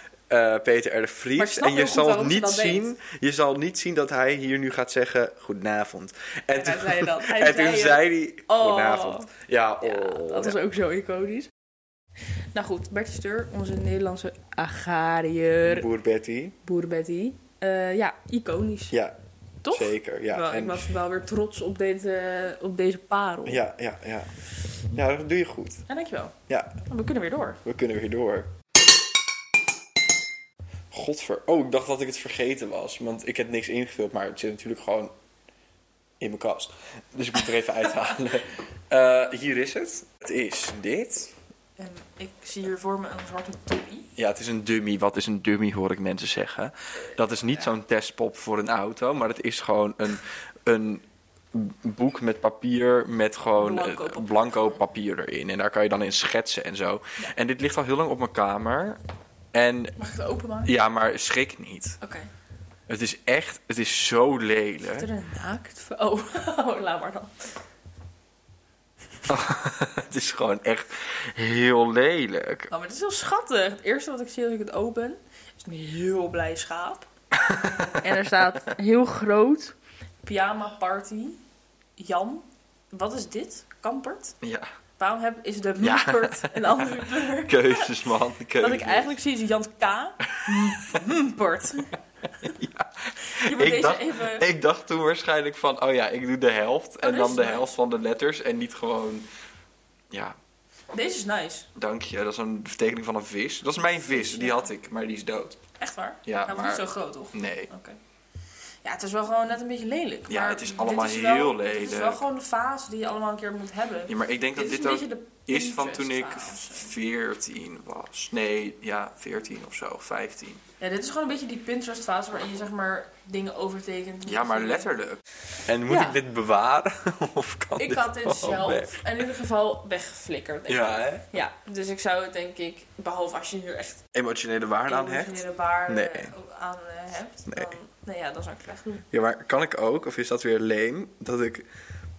Speaker 1: eh, Peter R. de
Speaker 2: Maar ik
Speaker 1: Vries.
Speaker 2: snap
Speaker 1: En je
Speaker 2: heel goed
Speaker 1: zal,
Speaker 2: waarom ze
Speaker 1: niet
Speaker 2: dat deed.
Speaker 1: zien, je zal niet zien dat hij hier nu gaat zeggen, goedenavond. En,
Speaker 2: hij zei
Speaker 1: *laughs*
Speaker 2: dat. Hij
Speaker 1: en
Speaker 2: zei
Speaker 1: toen
Speaker 2: het.
Speaker 1: zei hij,
Speaker 2: Oh.
Speaker 1: goedenavond. Ja, oh.
Speaker 2: Ja, dat
Speaker 1: ja.
Speaker 2: was ook zo iconisch. Nou goed, Bertje Steur, onze Nederlandse agariër,
Speaker 1: Boer Betty.
Speaker 2: boer Betty. Eh, ja, iconisch.
Speaker 1: Ja,
Speaker 2: Toch?
Speaker 1: zeker. Ja.
Speaker 2: Wel,
Speaker 1: en,
Speaker 2: Ik was wel weer trots op, dit, eh, op deze parel.
Speaker 1: ja, ja, ja. Ja, dat doe je goed.
Speaker 2: En dankjewel. Nou,
Speaker 1: Ja,
Speaker 2: We kunnen weer door.
Speaker 1: we kunnen weer door. Godver. Oh, ik dacht dat ik het vergeten was. Want ik heb niks ingevuld, maar het zit natuurlijk gewoon in mijn kast. Dus ik moet er even *laughs* uithalen. Eh, hier is het. Het is dit.
Speaker 2: En ik zie hier voor me een zwarte toppie.
Speaker 1: Ja, het is een dummy. Wat is een dummy, hoor ik mensen zeggen. Dat is niet zo'n testpop voor een auto, maar het is gewoon een, een boek met papier met gewoon eh,
Speaker 2: Blanco
Speaker 1: blanco,
Speaker 2: papier.
Speaker 1: papier erin. En daar kan je dan in schetsen en zo. En dit ligt al heel lang op mijn kamer. En
Speaker 2: Mag ik het openmaken?
Speaker 1: ja, maar schrik niet.
Speaker 2: Oké.
Speaker 1: Het is echt, het is zo
Speaker 2: Zit er
Speaker 1: lelijk.
Speaker 2: een naakt... *laughs* v- Oh, oh, laat maar dan.
Speaker 1: het is gewoon echt heel lelijk.
Speaker 2: Oh, maar het is heel schattig. Het eerste wat ik zie als ik het open is een heel
Speaker 1: *laughs*
Speaker 2: blij schaap. en er staat heel groot: Pyjama Party. Jan. Wat is dit? Kampert?
Speaker 1: Ja,
Speaker 2: Waarom heb, is de
Speaker 1: Ja.
Speaker 2: Mumpert een
Speaker 1: *laughs*
Speaker 2: andere kleur?
Speaker 1: keuzes man, keuzes.
Speaker 2: Wat ik eigenlijk zie is Jan K.
Speaker 1: *laughs*
Speaker 2: Mumpert. Je moet
Speaker 1: Ik
Speaker 2: deze
Speaker 1: dacht-
Speaker 2: even.
Speaker 1: Ik dacht toen waarschijnlijk van, oh ja, ik doe de helft. en
Speaker 2: dat
Speaker 1: dan
Speaker 2: is
Speaker 1: de
Speaker 2: nice.
Speaker 1: helft van de letters. En niet gewoon, ja,
Speaker 2: Deze is nice.
Speaker 1: dank je. Dat is een vertekening van een vis. Dat is mijn vis, die had ik, maar die is dood.
Speaker 2: Echt waar?
Speaker 1: Ja,
Speaker 2: Hij was
Speaker 1: maar-
Speaker 2: niet zo groot, toch?
Speaker 1: Nee.
Speaker 2: Oké. Ja, het is wel gewoon net een beetje lelijk.
Speaker 1: Ja,
Speaker 2: maar
Speaker 1: het is
Speaker 2: dit
Speaker 1: allemaal
Speaker 2: wel-
Speaker 1: heel
Speaker 2: Het is wel
Speaker 1: lelijk.
Speaker 2: gewoon de fase die je allemaal een keer moet hebben.
Speaker 1: Ja, maar ik denk dat
Speaker 2: dit is
Speaker 1: dit
Speaker 2: een
Speaker 1: ook
Speaker 2: beetje de
Speaker 1: is van toen ik
Speaker 2: Pinterest-fase.
Speaker 1: 14 was. Nee, ja, 14 of zo, 15.
Speaker 2: Ja, dit is gewoon een beetje die Pinterest-fase waarin je zeg maar dingen overtekent.
Speaker 1: Ja, maar letterlijk. En moet
Speaker 2: Ja.
Speaker 1: ik dit bewaren? *laughs* Of kan
Speaker 2: Ik
Speaker 1: dit *laughs*
Speaker 2: had dit
Speaker 1: gewoon
Speaker 2: zelf
Speaker 1: weg?
Speaker 2: in ieder geval weggeflikkerd. denk
Speaker 1: Oh, Ja,
Speaker 2: ik.
Speaker 1: hè?
Speaker 2: ja. Dus ik zou het denk ik, behalve als je hier echt
Speaker 1: Emotionele waarde aan hecht.
Speaker 2: emotionele waarde
Speaker 1: Nee.
Speaker 2: aan eh, hebt,
Speaker 1: Nee.
Speaker 2: dan nee, ja, dan zou ik het wegdoen.
Speaker 1: Ja, maar kan ik ook, of is dat weer leem, dat ik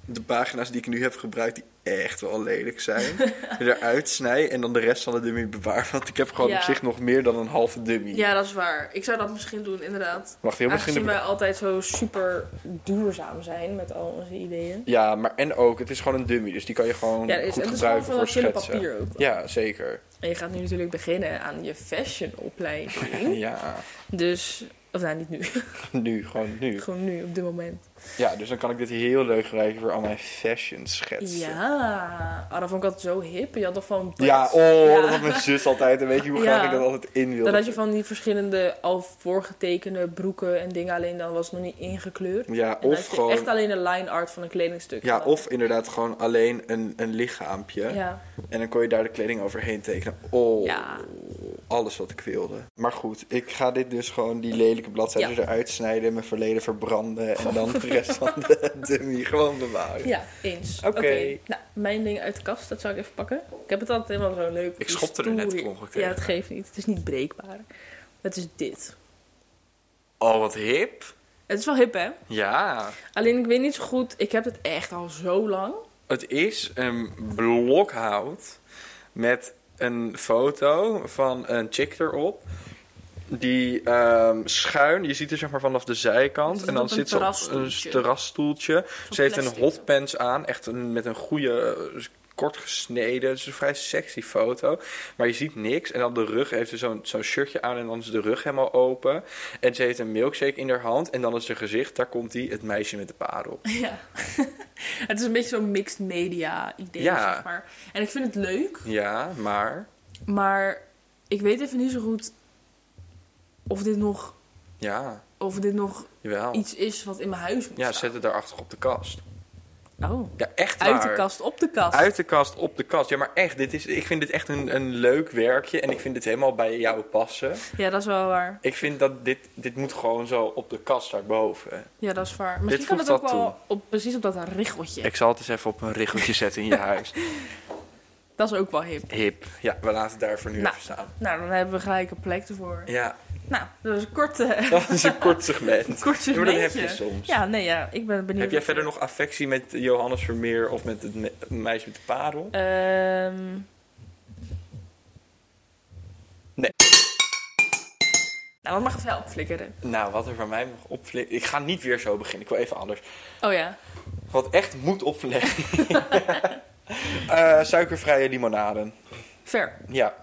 Speaker 1: de pagina's die ik nu heb gebruikt, die echt wel lelijk
Speaker 2: *laughs*
Speaker 1: zijn, eruit snij en dan de rest van de dummy bewaar? Want ik heb gewoon
Speaker 2: Ja.
Speaker 1: op zich nog meer dan een halve dummy.
Speaker 2: Ja, dat is waar. Ik zou dat misschien doen, inderdaad.
Speaker 1: Wacht, heel misschien.
Speaker 2: Aangezien
Speaker 1: de-
Speaker 2: wij altijd zo super duurzaam zijn met al onze ideeën.
Speaker 1: Ja, maar en ook, het is gewoon een dummy, dus die kan je gewoon
Speaker 2: Ja, het is,
Speaker 1: goed
Speaker 2: het is gewoon
Speaker 1: gebruiken
Speaker 2: van dat
Speaker 1: voor
Speaker 2: chille
Speaker 1: schetsen.
Speaker 2: papier ook.
Speaker 1: Ja, zeker.
Speaker 2: En je gaat nu natuurlijk beginnen aan je
Speaker 1: *laughs*
Speaker 2: fashionopleiding.
Speaker 1: Ja,
Speaker 2: dus, of nou niet nu,
Speaker 1: nu, gewoon nu.
Speaker 2: *laughs* gewoon nu op dit moment.
Speaker 1: Ja, dus dan kan ik dit heel leuk gebruiken voor al mijn fashion schetsen.
Speaker 2: Ja, oh, dat vond ik altijd zo hip. Je had toch van
Speaker 1: eh, Ja,
Speaker 2: braids?
Speaker 1: oh,
Speaker 2: Ja.
Speaker 1: dat
Speaker 2: *laughs*
Speaker 1: had mijn zus altijd. En weet je hoe
Speaker 2: Ja.
Speaker 1: graag ik dat altijd in wilde?
Speaker 2: Dan had je van die verschillende al voorgetekende broeken en dingen, alleen dan was het nog niet ingekleurd.
Speaker 1: Ja,
Speaker 2: En dan had
Speaker 1: of
Speaker 2: je
Speaker 1: gewoon...
Speaker 2: echt alleen een line art van een kledingstuk.
Speaker 1: Ja,
Speaker 2: gedaan.
Speaker 1: of inderdaad gewoon alleen een, een lichaampje.
Speaker 2: Ja.
Speaker 1: En dan kon je daar de kleding overheen tekenen. Oh.
Speaker 2: Ja.
Speaker 1: alles wat ik wilde. Maar goed, ik ga dit dus gewoon die lelijke bladzijden
Speaker 2: Ja.
Speaker 1: eruit snijden, mijn verleden verbranden en dan de
Speaker 2: *laughs*
Speaker 1: rest van de dummy gewoon bewaren.
Speaker 2: Ja, eens.
Speaker 1: Oké.
Speaker 2: Nou, mijn ding uit de kast, dat zou ik even pakken. Ik heb het altijd helemaal zo leuk.
Speaker 1: Ik schopte er net
Speaker 2: stoer-
Speaker 1: per ongeluk
Speaker 2: Ja,
Speaker 1: tegen.
Speaker 2: het geeft niet. Het is niet breekbaar. Het is dit.
Speaker 1: Oh, wat hip.
Speaker 2: Het is wel hip, hè?
Speaker 1: Ja.
Speaker 2: Alleen ik weet niet zo goed. Ik heb het echt al zo lang.
Speaker 1: Het is een blokhout met een foto van een chick erop. Die ehm, schuin, je ziet er zeg maar vanaf de zijkant. en
Speaker 2: Ze zit
Speaker 1: dan
Speaker 2: op een
Speaker 1: zit ze op een
Speaker 2: terrasstoeltje.
Speaker 1: terrasstoeltje. Ze heeft een
Speaker 2: plastic.
Speaker 1: hotpants aan, echt een, met een goede, eh, kort gesneden. Het is een vrij sexy foto. Maar je ziet niks. En dan de rug heeft ze zo'n zo'n shirtje aan en dan is de rug helemaal open. En ze heeft een milkshake in haar hand. En dan is haar gezicht, daar komt die, het meisje met de parel.
Speaker 2: *laughs* Ja. *laughs* het is een beetje zo'n mixed media idee,
Speaker 1: Ja.
Speaker 2: zeg maar. En ik vind het leuk,
Speaker 1: Ja, maar...
Speaker 2: maar ik weet even niet zo goed of dit nog,
Speaker 1: Ja,
Speaker 2: of dit nog
Speaker 1: jawel.
Speaker 2: iets is wat in mijn huis
Speaker 1: Oh.
Speaker 2: moet
Speaker 1: Ja,
Speaker 2: staan.
Speaker 1: zet het daarachter op de kast.
Speaker 2: Oh.
Speaker 1: Ja, echt
Speaker 2: Uit
Speaker 1: waar.
Speaker 2: de kast, op de kast.
Speaker 1: Uit de kast, op de kast. Ja, maar echt, dit is, ik vind dit echt een, een leuk werkje. En ik vind dit helemaal bij jou passen.
Speaker 2: Ja, dat is wel waar.
Speaker 1: Ik vind dat dit, dit moet gewoon zo op de kast daarboven.
Speaker 2: Ja, dat is waar. Misschien kan
Speaker 1: voegt
Speaker 2: het ook
Speaker 1: dat
Speaker 2: wel op, precies op dat richeltje.
Speaker 1: Ik zal het eens even op een richeltje zetten in je
Speaker 2: *laughs*
Speaker 1: huis.
Speaker 2: Dat is ook wel hip.
Speaker 1: Hip. Ja, we laten het daar voor nu
Speaker 2: Nou.
Speaker 1: even staan.
Speaker 2: Nou, dan hebben we gelijk een plek ervoor.
Speaker 1: Ja, *laughs*
Speaker 2: Nou, dat is een *laughs* korte,
Speaker 1: dat is een kort segment.
Speaker 2: kort
Speaker 1: Ja, maar dat heb je
Speaker 2: segmentje.
Speaker 1: soms.
Speaker 2: Ja, nee, ja, ik ben benieuwd.
Speaker 1: Heb jij verder nog affectie met Johannes Vermeer of met het me- meisje met de parel?
Speaker 2: Ehm,
Speaker 1: Nee.
Speaker 2: Nou, dat mag het wel opflikkeren.
Speaker 1: Nou, wat er van mij nog opvliegt. Ik ga niet weer zo beginnen. Ik wil even anders.
Speaker 2: Oh ja.
Speaker 1: Wat echt moet opleggen.
Speaker 2: *laughs*
Speaker 1: Eh, suikervrije limonaden.
Speaker 2: Ver.
Speaker 1: Ja.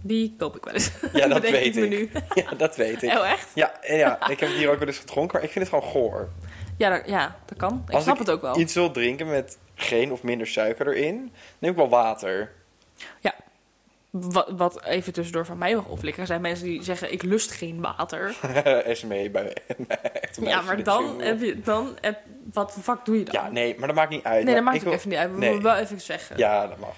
Speaker 2: Die koop ik wel eens.
Speaker 1: Ja,
Speaker 2: *laughs*
Speaker 1: dat
Speaker 2: Bedenk
Speaker 1: weet
Speaker 2: me
Speaker 1: ik.
Speaker 2: nu.
Speaker 1: *laughs* ja, dat weet
Speaker 2: *laughs*
Speaker 1: ik.
Speaker 2: Oh, echt?
Speaker 1: Ja, en ja, ik heb het hier ook wel eens gedronken, maar ik vind het gewoon goor.
Speaker 2: Ja, dat, ja, dat kan. Ik
Speaker 1: Als
Speaker 2: snap het ook wel.
Speaker 1: iets wil drinken met geen of minder suiker erin, neem ik wel water. *laughs*
Speaker 2: Ja. Wat, wat even tussendoor van mij mag opflikkeren zijn mensen die zeggen: Ik lust geen water.
Speaker 1: SME E, bij *laughs* mij. echt een
Speaker 2: ja,
Speaker 1: meisje
Speaker 2: maar
Speaker 1: met
Speaker 2: dan
Speaker 1: zin.
Speaker 2: heb je. Dan heb, wat de fuck doe je dan?
Speaker 1: Ja, nee, maar dat maakt niet uit.
Speaker 2: nee,
Speaker 1: Maar
Speaker 2: dat maakt
Speaker 1: ik
Speaker 2: ook
Speaker 1: wil-
Speaker 2: even niet uit. We
Speaker 1: Nee.
Speaker 2: moeten wel even zeggen.
Speaker 1: Ja, dat mag.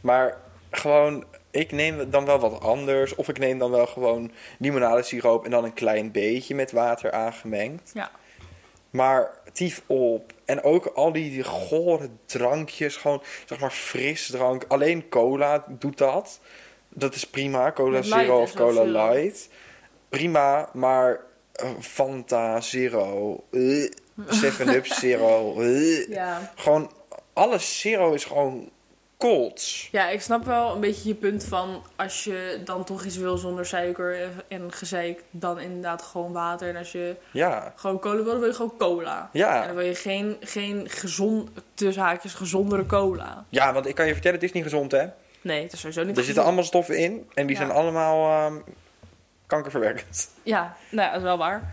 Speaker 1: Maar gewoon, ik neem dan wel wat anders. Of ik neem dan wel gewoon limonadesiroop en dan een klein beetje met water aangemengd.
Speaker 2: Ja.
Speaker 1: Maar tief op. En ook al die, die gore drankjes, gewoon zeg maar frisdrank. Alleen cola doet dat. Dat is prima. Cola
Speaker 2: Met light
Speaker 1: Zero
Speaker 2: en
Speaker 1: of
Speaker 2: zo,
Speaker 1: Cola
Speaker 2: zero.
Speaker 1: Light. Prima, maar eh, Fanta Zero.
Speaker 2: *laughs*
Speaker 1: eh, Seven Up Zero. eh.
Speaker 2: Ja.
Speaker 1: Gewoon, alles zero is gewoon kots.
Speaker 2: Ja, ik snap wel een beetje je punt van als je dan toch iets wil zonder suiker en gezeik, dan inderdaad gewoon water. En als je
Speaker 1: Ja.
Speaker 2: gewoon cola wil, dan wil je gewoon cola. En
Speaker 1: Ja.
Speaker 2: dan wil je geen, geen gezond, tussen haakjes, gezondere cola.
Speaker 1: ja, want ik kan je vertellen, het is niet gezond, hè?
Speaker 2: Nee, het is sowieso niet
Speaker 1: Er zitten
Speaker 2: gezond.
Speaker 1: allemaal stoffen in en die
Speaker 2: Ja.
Speaker 1: zijn allemaal ehm, kankerverwekkend.
Speaker 2: Ja, nou ja, dat is wel waar.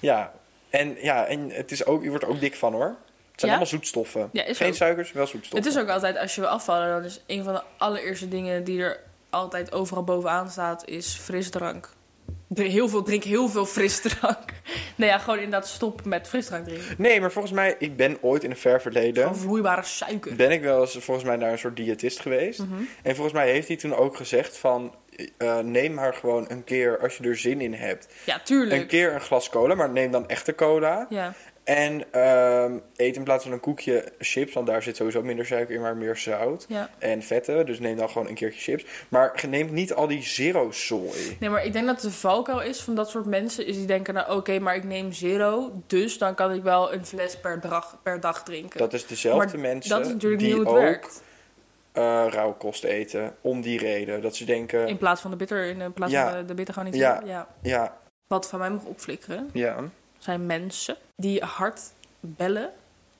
Speaker 1: Ja. En, ja, en het is ook, je wordt er ook dik van, hoor. Het zijn
Speaker 2: Ja?
Speaker 1: allemaal zoetstoffen.
Speaker 2: Ja, is
Speaker 1: Geen
Speaker 2: ook.
Speaker 1: suikers, wel zoetstoffen.
Speaker 2: Het is ook altijd, als je wil afvallen, dan is een van de allereerste dingen die er altijd overal bovenaan staat, is frisdrank. Drink heel veel, drink heel veel frisdrank. *laughs* nou ja, gewoon inderdaad stop met frisdrank drinken.
Speaker 1: Nee, maar volgens mij, ik ben ooit in een ver verleden...
Speaker 2: Gewoon vloeibare suiker.
Speaker 1: ben ik wel eens volgens mij naar een soort diëtist geweest.
Speaker 2: Mhm.
Speaker 1: En volgens mij heeft hij toen ook gezegd van... eh, neem maar gewoon een keer, als je er zin in hebt...
Speaker 2: Ja, tuurlijk.
Speaker 1: een keer een glas cola, maar neem dan echte cola.
Speaker 2: Ja.
Speaker 1: En ehm, eet in plaats van een koekje chips, want daar zit sowieso minder suiker in, maar meer zout.
Speaker 2: Ja.
Speaker 1: En vetten, dus neem dan gewoon een keertje chips. Maar ge- neem niet al die zero soy.
Speaker 2: Nee, maar ik denk dat de valkuil is van dat soort mensen... is die denken, nou oké, maar ik neem zero... dus dan kan ik wel een fles per dag, per dag drinken.
Speaker 1: Dat is dezelfde
Speaker 2: Maar
Speaker 1: mensen
Speaker 2: dat is natuurlijk niet
Speaker 1: die
Speaker 2: hoe het
Speaker 1: ook
Speaker 2: werkt.
Speaker 1: eh, rauwe kost eten. Om die reden. Dat ze denken,
Speaker 2: In plaats van de bitter, in eh, plaats
Speaker 1: Ja.
Speaker 2: van de, de bitter gewoon niet
Speaker 1: Ja.
Speaker 2: hebben. ja.
Speaker 1: ja,
Speaker 2: Wat van mij mag opflikkeren,
Speaker 1: ja.
Speaker 2: zijn mensen die hard bellen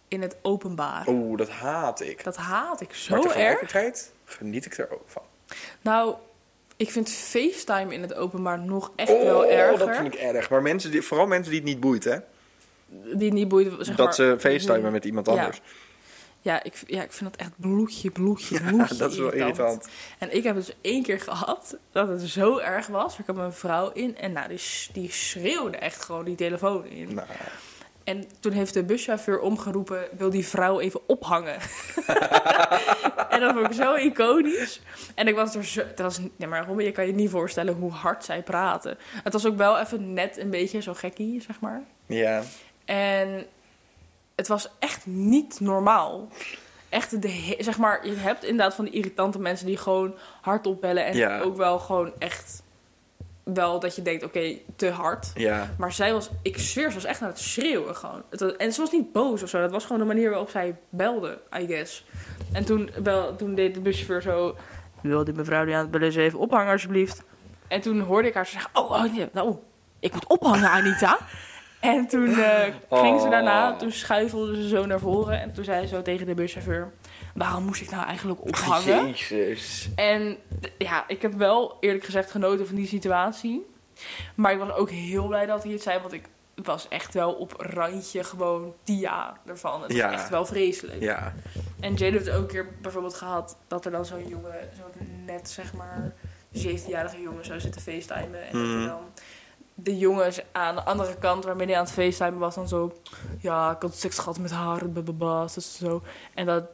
Speaker 2: in het openbaar.
Speaker 1: Oeh, dat haat ik.
Speaker 2: Dat haat ik
Speaker 1: maar
Speaker 2: zo erg.
Speaker 1: tegelijkertijd geniet ik er ook van.
Speaker 2: Nou, ik vind FaceTime in het openbaar nog echt
Speaker 1: oh,
Speaker 2: wel erger.
Speaker 1: dat vind ik erg. Maar mensen die, vooral mensen die het niet boeit, hè.
Speaker 2: Die niet boeit, zeg
Speaker 1: dat
Speaker 2: maar-
Speaker 1: ze facetimen met iemand
Speaker 2: Ja.
Speaker 1: anders.
Speaker 2: Ja ik, ja, ik vind dat echt bloedje,
Speaker 1: *laughs*
Speaker 2: bloedje, bloedje
Speaker 1: dat is wel irritant.
Speaker 2: En ik heb dus één keer gehad dat het zo erg was. Er kwam een vrouw in en nou, die, s- die schreeuwde echt gewoon die telefoon in.
Speaker 1: Nou,
Speaker 2: En toen heeft de buschauffeur omgeroepen, wil die vrouw even
Speaker 1: *laughs*
Speaker 2: ophangen. *laughs* en dat vond ik zo iconisch. En ik was er zo... Dat was, nee, maar Robin, je kan je niet voorstellen hoe hard zij praten. Het was ook wel even net een beetje zo gekkie, zeg maar.
Speaker 1: Ja.
Speaker 2: En het was echt niet normaal. Echt, de he- zeg maar, je hebt inderdaad van die irritante mensen die gewoon hard opbellen. En
Speaker 1: Ja.
Speaker 2: ook wel gewoon echt wel dat je denkt, oké, te hard.
Speaker 1: Ja.
Speaker 2: Maar zij was, ik zweer, ze was echt aan het schreeuwen gewoon. Het was- en ze was niet boos of zo. Dat was gewoon de manier waarop zij belde, I guess. En toen, bel, toen deed de buschauffeur zo... Wil die mevrouw die aan het bellen is even ophangen, alsjeblieft? En toen hoorde ik haar zeggen... Oh, oh nee, nou, ik moet ophangen, Anita. en toen eh, ging ze daarna...
Speaker 1: Oh.
Speaker 2: Toen schuifelde ze zo naar voren. En toen zei ze zo tegen de buschauffeur... Waarom moest ik nou eigenlijk ophangen?
Speaker 1: Jezus.
Speaker 2: En d- ja, ik heb wel eerlijk gezegd genoten van die situatie. Maar ik was ook heel blij dat hij het zei, want ik was echt wel op randje gewoon dia ervan. Het
Speaker 1: Ja.
Speaker 2: was echt wel vreselijk.
Speaker 1: Ja.
Speaker 2: En Jade heeft ook een keer bijvoorbeeld gehad dat er dan zo'n jongen, zo'n net zeg maar 17-jarige jongen zou zitten facetimen. En dat
Speaker 1: Mhm.
Speaker 2: er dan de jongens aan de andere kant waarmee hij aan het facetimen was dan zo... Ja, ik had seks gehad met haar, bababa, zo. En dat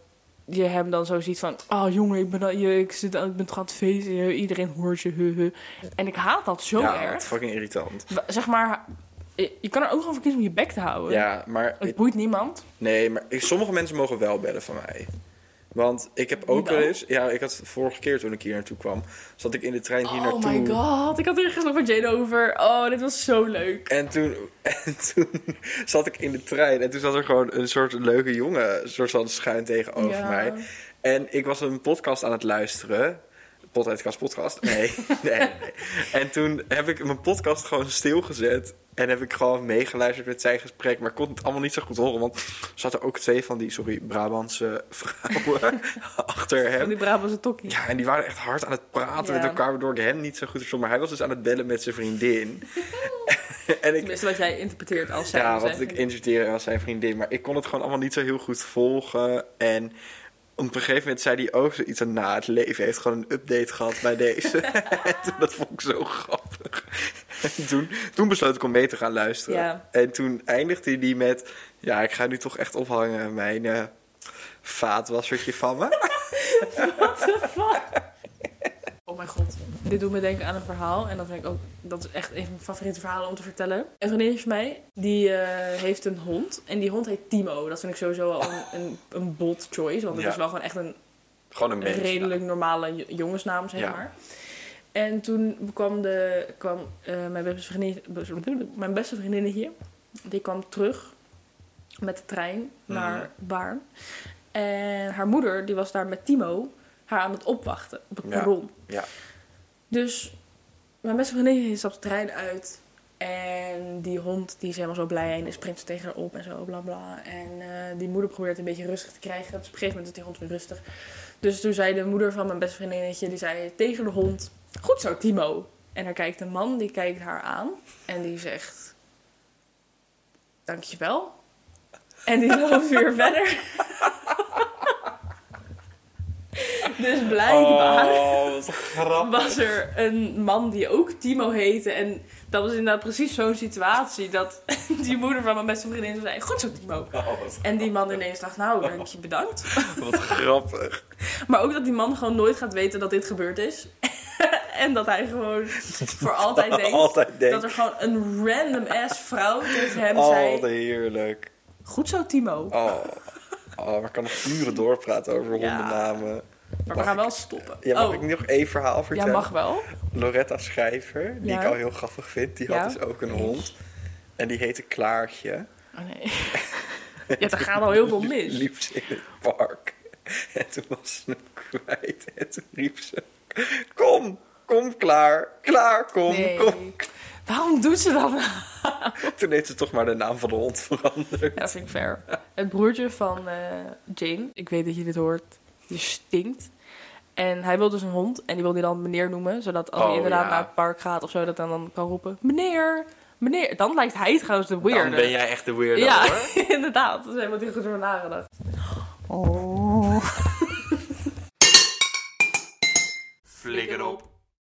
Speaker 2: je hem dan zo ziet van... Oh jongen, ik ben, al- je, ik zit, aan- ik ben toch aan het feesten, eh, iedereen hoort je, huh, huh." En ik haat dat zo
Speaker 1: ja, het
Speaker 2: erg.
Speaker 1: is fucking irritant.
Speaker 2: W- Zeg maar, je je kan er ook gewoon voor kiezen om je bek te houden.
Speaker 1: Ja, maar
Speaker 2: Oh, Het boeit niemand.
Speaker 1: Nee, maar ik- sommige mensen mogen wel bellen van mij. Want ik heb
Speaker 2: Wie
Speaker 1: ook
Speaker 2: dan?
Speaker 1: wel eens... Ja, ik had vorige keer toen ik hier naartoe kwam... zat ik in de trein hier
Speaker 2: Oh
Speaker 1: naartoe.
Speaker 2: my god, ik had hier gisteren met Jane over. Oh, dit was zo leuk.
Speaker 1: En toen, *laughs* en toen zat ik in de trein en toen zat er gewoon een soort leuke jongen soort van schuin tegenover
Speaker 2: Ja.
Speaker 1: mij. En ik was een podcast aan het luisteren. Podcast, podcast? Nee, *laughs* nee, nee. En toen heb ik mijn podcast gewoon stilgezet. En heb ik gewoon meegeluisterd met zijn gesprek. Maar ik kon het allemaal niet zo goed horen. Want er zaten ook twee van die, sorry, Brabantse vrouwen *laughs* achter
Speaker 2: Van
Speaker 1: hem.
Speaker 2: die Brabantse tokkie.
Speaker 1: Ja, en die waren echt hard aan het praten
Speaker 2: Ja.
Speaker 1: met elkaar. Waardoor ik hem niet zo goed verstond. Maar hij was dus aan het bellen met zijn
Speaker 2: *laughs*
Speaker 1: vriendin. en ik,
Speaker 2: Tenminste, wat jij interpreteert als zij.
Speaker 1: ja,
Speaker 2: hem
Speaker 1: wat
Speaker 2: zegt.
Speaker 1: ik interpreteerde als zijn vriendin. Maar ik kon het gewoon allemaal niet zo heel goed volgen. En op een gegeven moment zei hij ook zoiets van... Nou, het leven heeft gewoon een update gehad bij
Speaker 2: *laughs*
Speaker 1: deze. *laughs* En toen, dat vond ik zo grappig. En toen, toen besloot ik om mee te gaan luisteren.
Speaker 2: Ja.
Speaker 1: En toen eindigde hij met... Ja, ik ga nu toch echt ophangen mijn eh, vaatwassertje van
Speaker 2: *laughs*
Speaker 1: me.
Speaker 2: What the fuck? Oh mijn god. Dit doet me denken aan een verhaal. En dat, vind ik ook, dat is echt een van mijn favoriete verhalen om te vertellen. Een vriendin van mij, die eh, heeft een hond. En die hond heet Timo. Dat vind ik sowieso al een, een, een bold choice. Want het
Speaker 1: Ja.
Speaker 2: is wel gewoon echt een
Speaker 1: Gewoon een mens.
Speaker 2: redelijk normale jo- jongensnaam, zeg
Speaker 1: Ja.
Speaker 2: maar. En toen kwam, de, kwam eh, mijn, beste vriendin, mijn beste vriendinnetje, die kwam terug met de trein naar
Speaker 1: Mhm.
Speaker 2: Baarn. En haar moeder, die was daar met Timo, haar aan het opwachten op het
Speaker 1: Ja.
Speaker 2: perron.
Speaker 1: Ja.
Speaker 2: Dus mijn beste vriendin stapt de trein uit. En die hond die is helemaal zo blij en die springt zo tegen haar op en zo bla bla. En eh, die moeder probeert het een beetje rustig te krijgen. Dus op een gegeven moment is die hond weer rustig. Dus toen zei de moeder van mijn beste vriendinnetje, die zei tegen de hond: Goed zo, Timo. En daar kijkt een man, die kijkt haar aan en die zegt: Dankjewel. En die is een half uur verder. *laughs* dus blijkbaar
Speaker 1: Oh, wat grappig.
Speaker 2: was er een man die ook Timo heette. En dat was inderdaad precies zo'n situatie. Dat *laughs* die moeder van mijn beste vriendin zei: Goed zo, Timo.
Speaker 1: Oh, wat-
Speaker 2: En die man ineens dacht: Nou, dank je, bedankt.
Speaker 1: wat grappig.
Speaker 2: Maar ook dat die man gewoon nooit gaat weten dat dit gebeurd is. *laughs* en dat hij gewoon
Speaker 1: *laughs*
Speaker 2: voor altijd denkt.
Speaker 1: Altijd
Speaker 2: Dat
Speaker 1: denkt.
Speaker 2: er gewoon een random ass vrouw tegen hem
Speaker 1: Oh, wat
Speaker 2: zei:
Speaker 1: heerlijk.
Speaker 2: Goed zo, Timo.
Speaker 1: Oh, oh we kunnen uren doorpraten over
Speaker 2: Ja.
Speaker 1: hondennamen.
Speaker 2: Maar we
Speaker 1: mag
Speaker 2: gaan
Speaker 1: ik-
Speaker 2: wel stoppen.
Speaker 1: Ja, mag
Speaker 2: oh,
Speaker 1: ik nog één verhaal
Speaker 2: ja,
Speaker 1: vertellen?
Speaker 2: mag
Speaker 1: *laughs*
Speaker 2: wel.
Speaker 1: Loretta Schrijver, die
Speaker 2: Ja.
Speaker 1: ik al heel grappig vind, die
Speaker 2: Ja.
Speaker 1: had dus ook een hond. En die heette Klaartje.
Speaker 2: Oh nee. *laughs* ja, er gaat al heel veel mis.
Speaker 1: Liep ze in het park. En toen was ze hem kwijt. En toen riep ze: Kom, kom klaar, klaar, kom,
Speaker 2: Nee.
Speaker 1: kom.
Speaker 2: Waarom doet ze dat nou?
Speaker 1: Toen heeft ze toch maar de naam van de hond veranderd.
Speaker 2: Ja, dat vind ik fair. Het broertje van eh, Jane, ik weet dat je dit hoort, je stinkt. En hij wil dus een hond en die wil die dan meneer noemen, zodat als hij
Speaker 1: Oh,
Speaker 2: inderdaad
Speaker 1: ja.
Speaker 2: naar het park gaat of zo, dat hij dan kan roepen: Meneer, meneer. Dan lijkt hij trouwens de weirde.
Speaker 1: Dan ben jij echt de weirdo
Speaker 2: ja,
Speaker 1: hoor.
Speaker 2: *laughs* inderdaad. Daar zijn we heel goed over nagedacht.
Speaker 1: Flikker op.